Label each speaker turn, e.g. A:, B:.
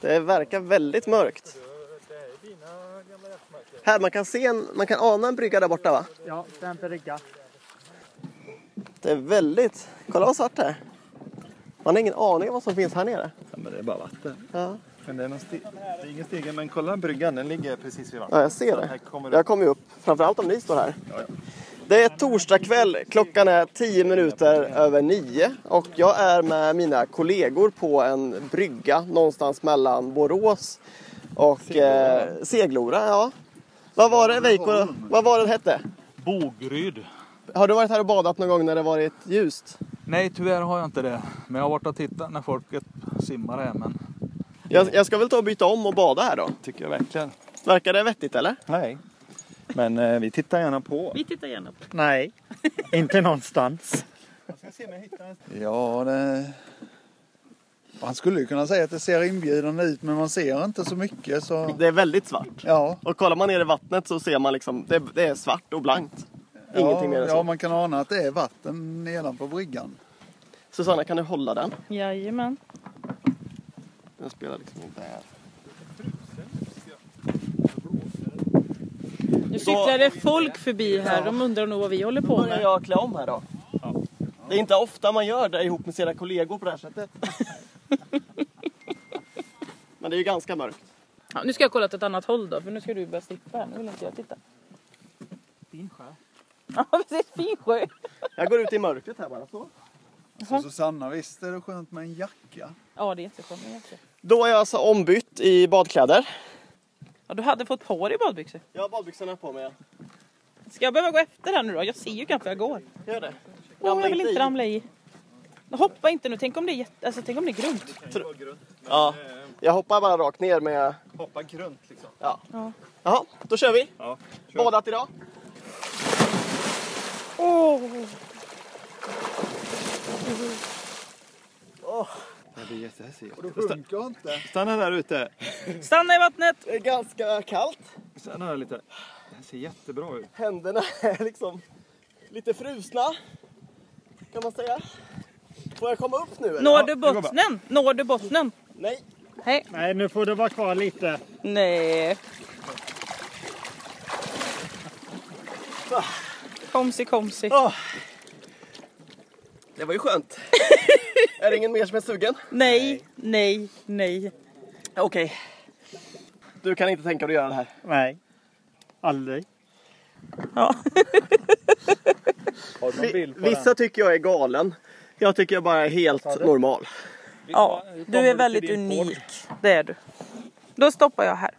A: Det verkar väldigt mörkt. Här, man kan se en, man kan ana en brygga där borta va?
B: Ja, den brygga.
A: Det är väldigt, kolla vad svart det är. Man har ingen aning om vad som finns här nere.
C: Ja, men det är bara vatten.
A: Ja,
C: Men det är, någon ste- det är ingen stege, men kolla bryggan, den ligger precis
A: ja
C: vid vattnet.
A: jag ser
C: Här
A: det.
C: kommer det-
A: Jag kommer ju upp, framförallt om ni står här.
C: Ja, ja.
A: Det är torsdag kväll, klockan är 10 minuter över 9 och jag är med mina kollegor på en brygga någonstans mellan Borås och Seglora. Eh, Seglora ja. Vad var det Veiko, vad var det den hette?
D: Bogryd.
A: Har du varit här och badat någon gång när det varit ljust?
D: Nej, tyvärr har jag inte det. Men jag har varit och tittat när folket simmar här. Men
A: Jag, jag ska väl ta och byta om och bada här då.
C: Tycker jag verkligen.
A: Verkar det vettigt eller?
C: Nej. Men eh, vi tittar gärna på.
E: Vi tittar gärna på.
B: Nej, inte någonstans.
F: Ja, det... Man skulle ju kunna säga att det ser inbjudande ut men man ser inte så mycket så...
A: Det är väldigt svart.
F: Ja.
A: Och kollar man ner i vattnet så ser man liksom, det, det är svart och blankt. Ingenting
F: ja,
A: mer än så.
F: Ja, man kan ana att det är vatten nedanpå bryggan.
A: Susanna kan du hålla den?
E: Jajamän.
A: Den spelar liksom inte här.
E: Nu cyklar det folk förbi här. De undrar nog vad vi håller på
A: börjar
E: med.
A: jag klä om här då. Det är inte ofta man gör det ihop med sina kollegor på det här sättet. Men det är ju ganska mörkt.
E: Ja, nu ska jag kolla åt ett annat håll då. För nu ska du börja slippa här. Nu vill inte jag titta. Fin sjö. Ja precis, fin sjö.
A: Jag går ut i mörkret här bara. Så.
F: Så Susanna, visst är det skönt med en jacka?
E: Ja det är jätteskönt. med jacka.
A: Då är jag alltså ombytt i badkläder.
E: Ja, du hade fått på dig badbyxor.
A: Jag har badbyxorna på mig.
E: Ska jag behöva gå efter här nu då? Jag ser ju knappt var jag går.
A: Gör det.
E: Åh, jag vill
A: i.
E: inte ramla i. Hoppa inte nu. Tänk om det är, jätte... alltså, tänk om det är grunt.
A: Ja. Jag hoppar bara rakt ner med...
C: Hoppa grunt liksom.
A: Ja.
E: Ja.
A: Jaha, då kör vi.
C: Ja.
A: Badat idag.
E: Åh.
F: Det funkar inte.
C: Stanna där ute.
E: Stanna i vattnet!
A: Det är ganska kallt.
C: Stanna där lite. Det här ser jättebra ut.
A: Händerna är liksom lite frusna. Kan man säga. Får jag komma upp nu eller?
E: Når du
C: det går bra.
E: bottnen? Når du bottnen?
A: Nej.
E: Hej.
B: Nej, nu får du vara kvar lite.
E: Nej. Komsi, komsi.
A: Åh. Det var ju skönt. är det ingen mer som är sugen?
E: Nej, nej, nej.
A: Okej. Du kan inte tänka dig att göra det här.
B: Nej, aldrig.
E: Ja.
C: Har du någon bild på
A: Vissa tycker jag är galen. Jag tycker jag bara är helt normal.
E: ja.
C: hur kommer
E: Du är
C: du
E: väldigt
C: till din
E: unik. Det är du. Då stoppar jag här.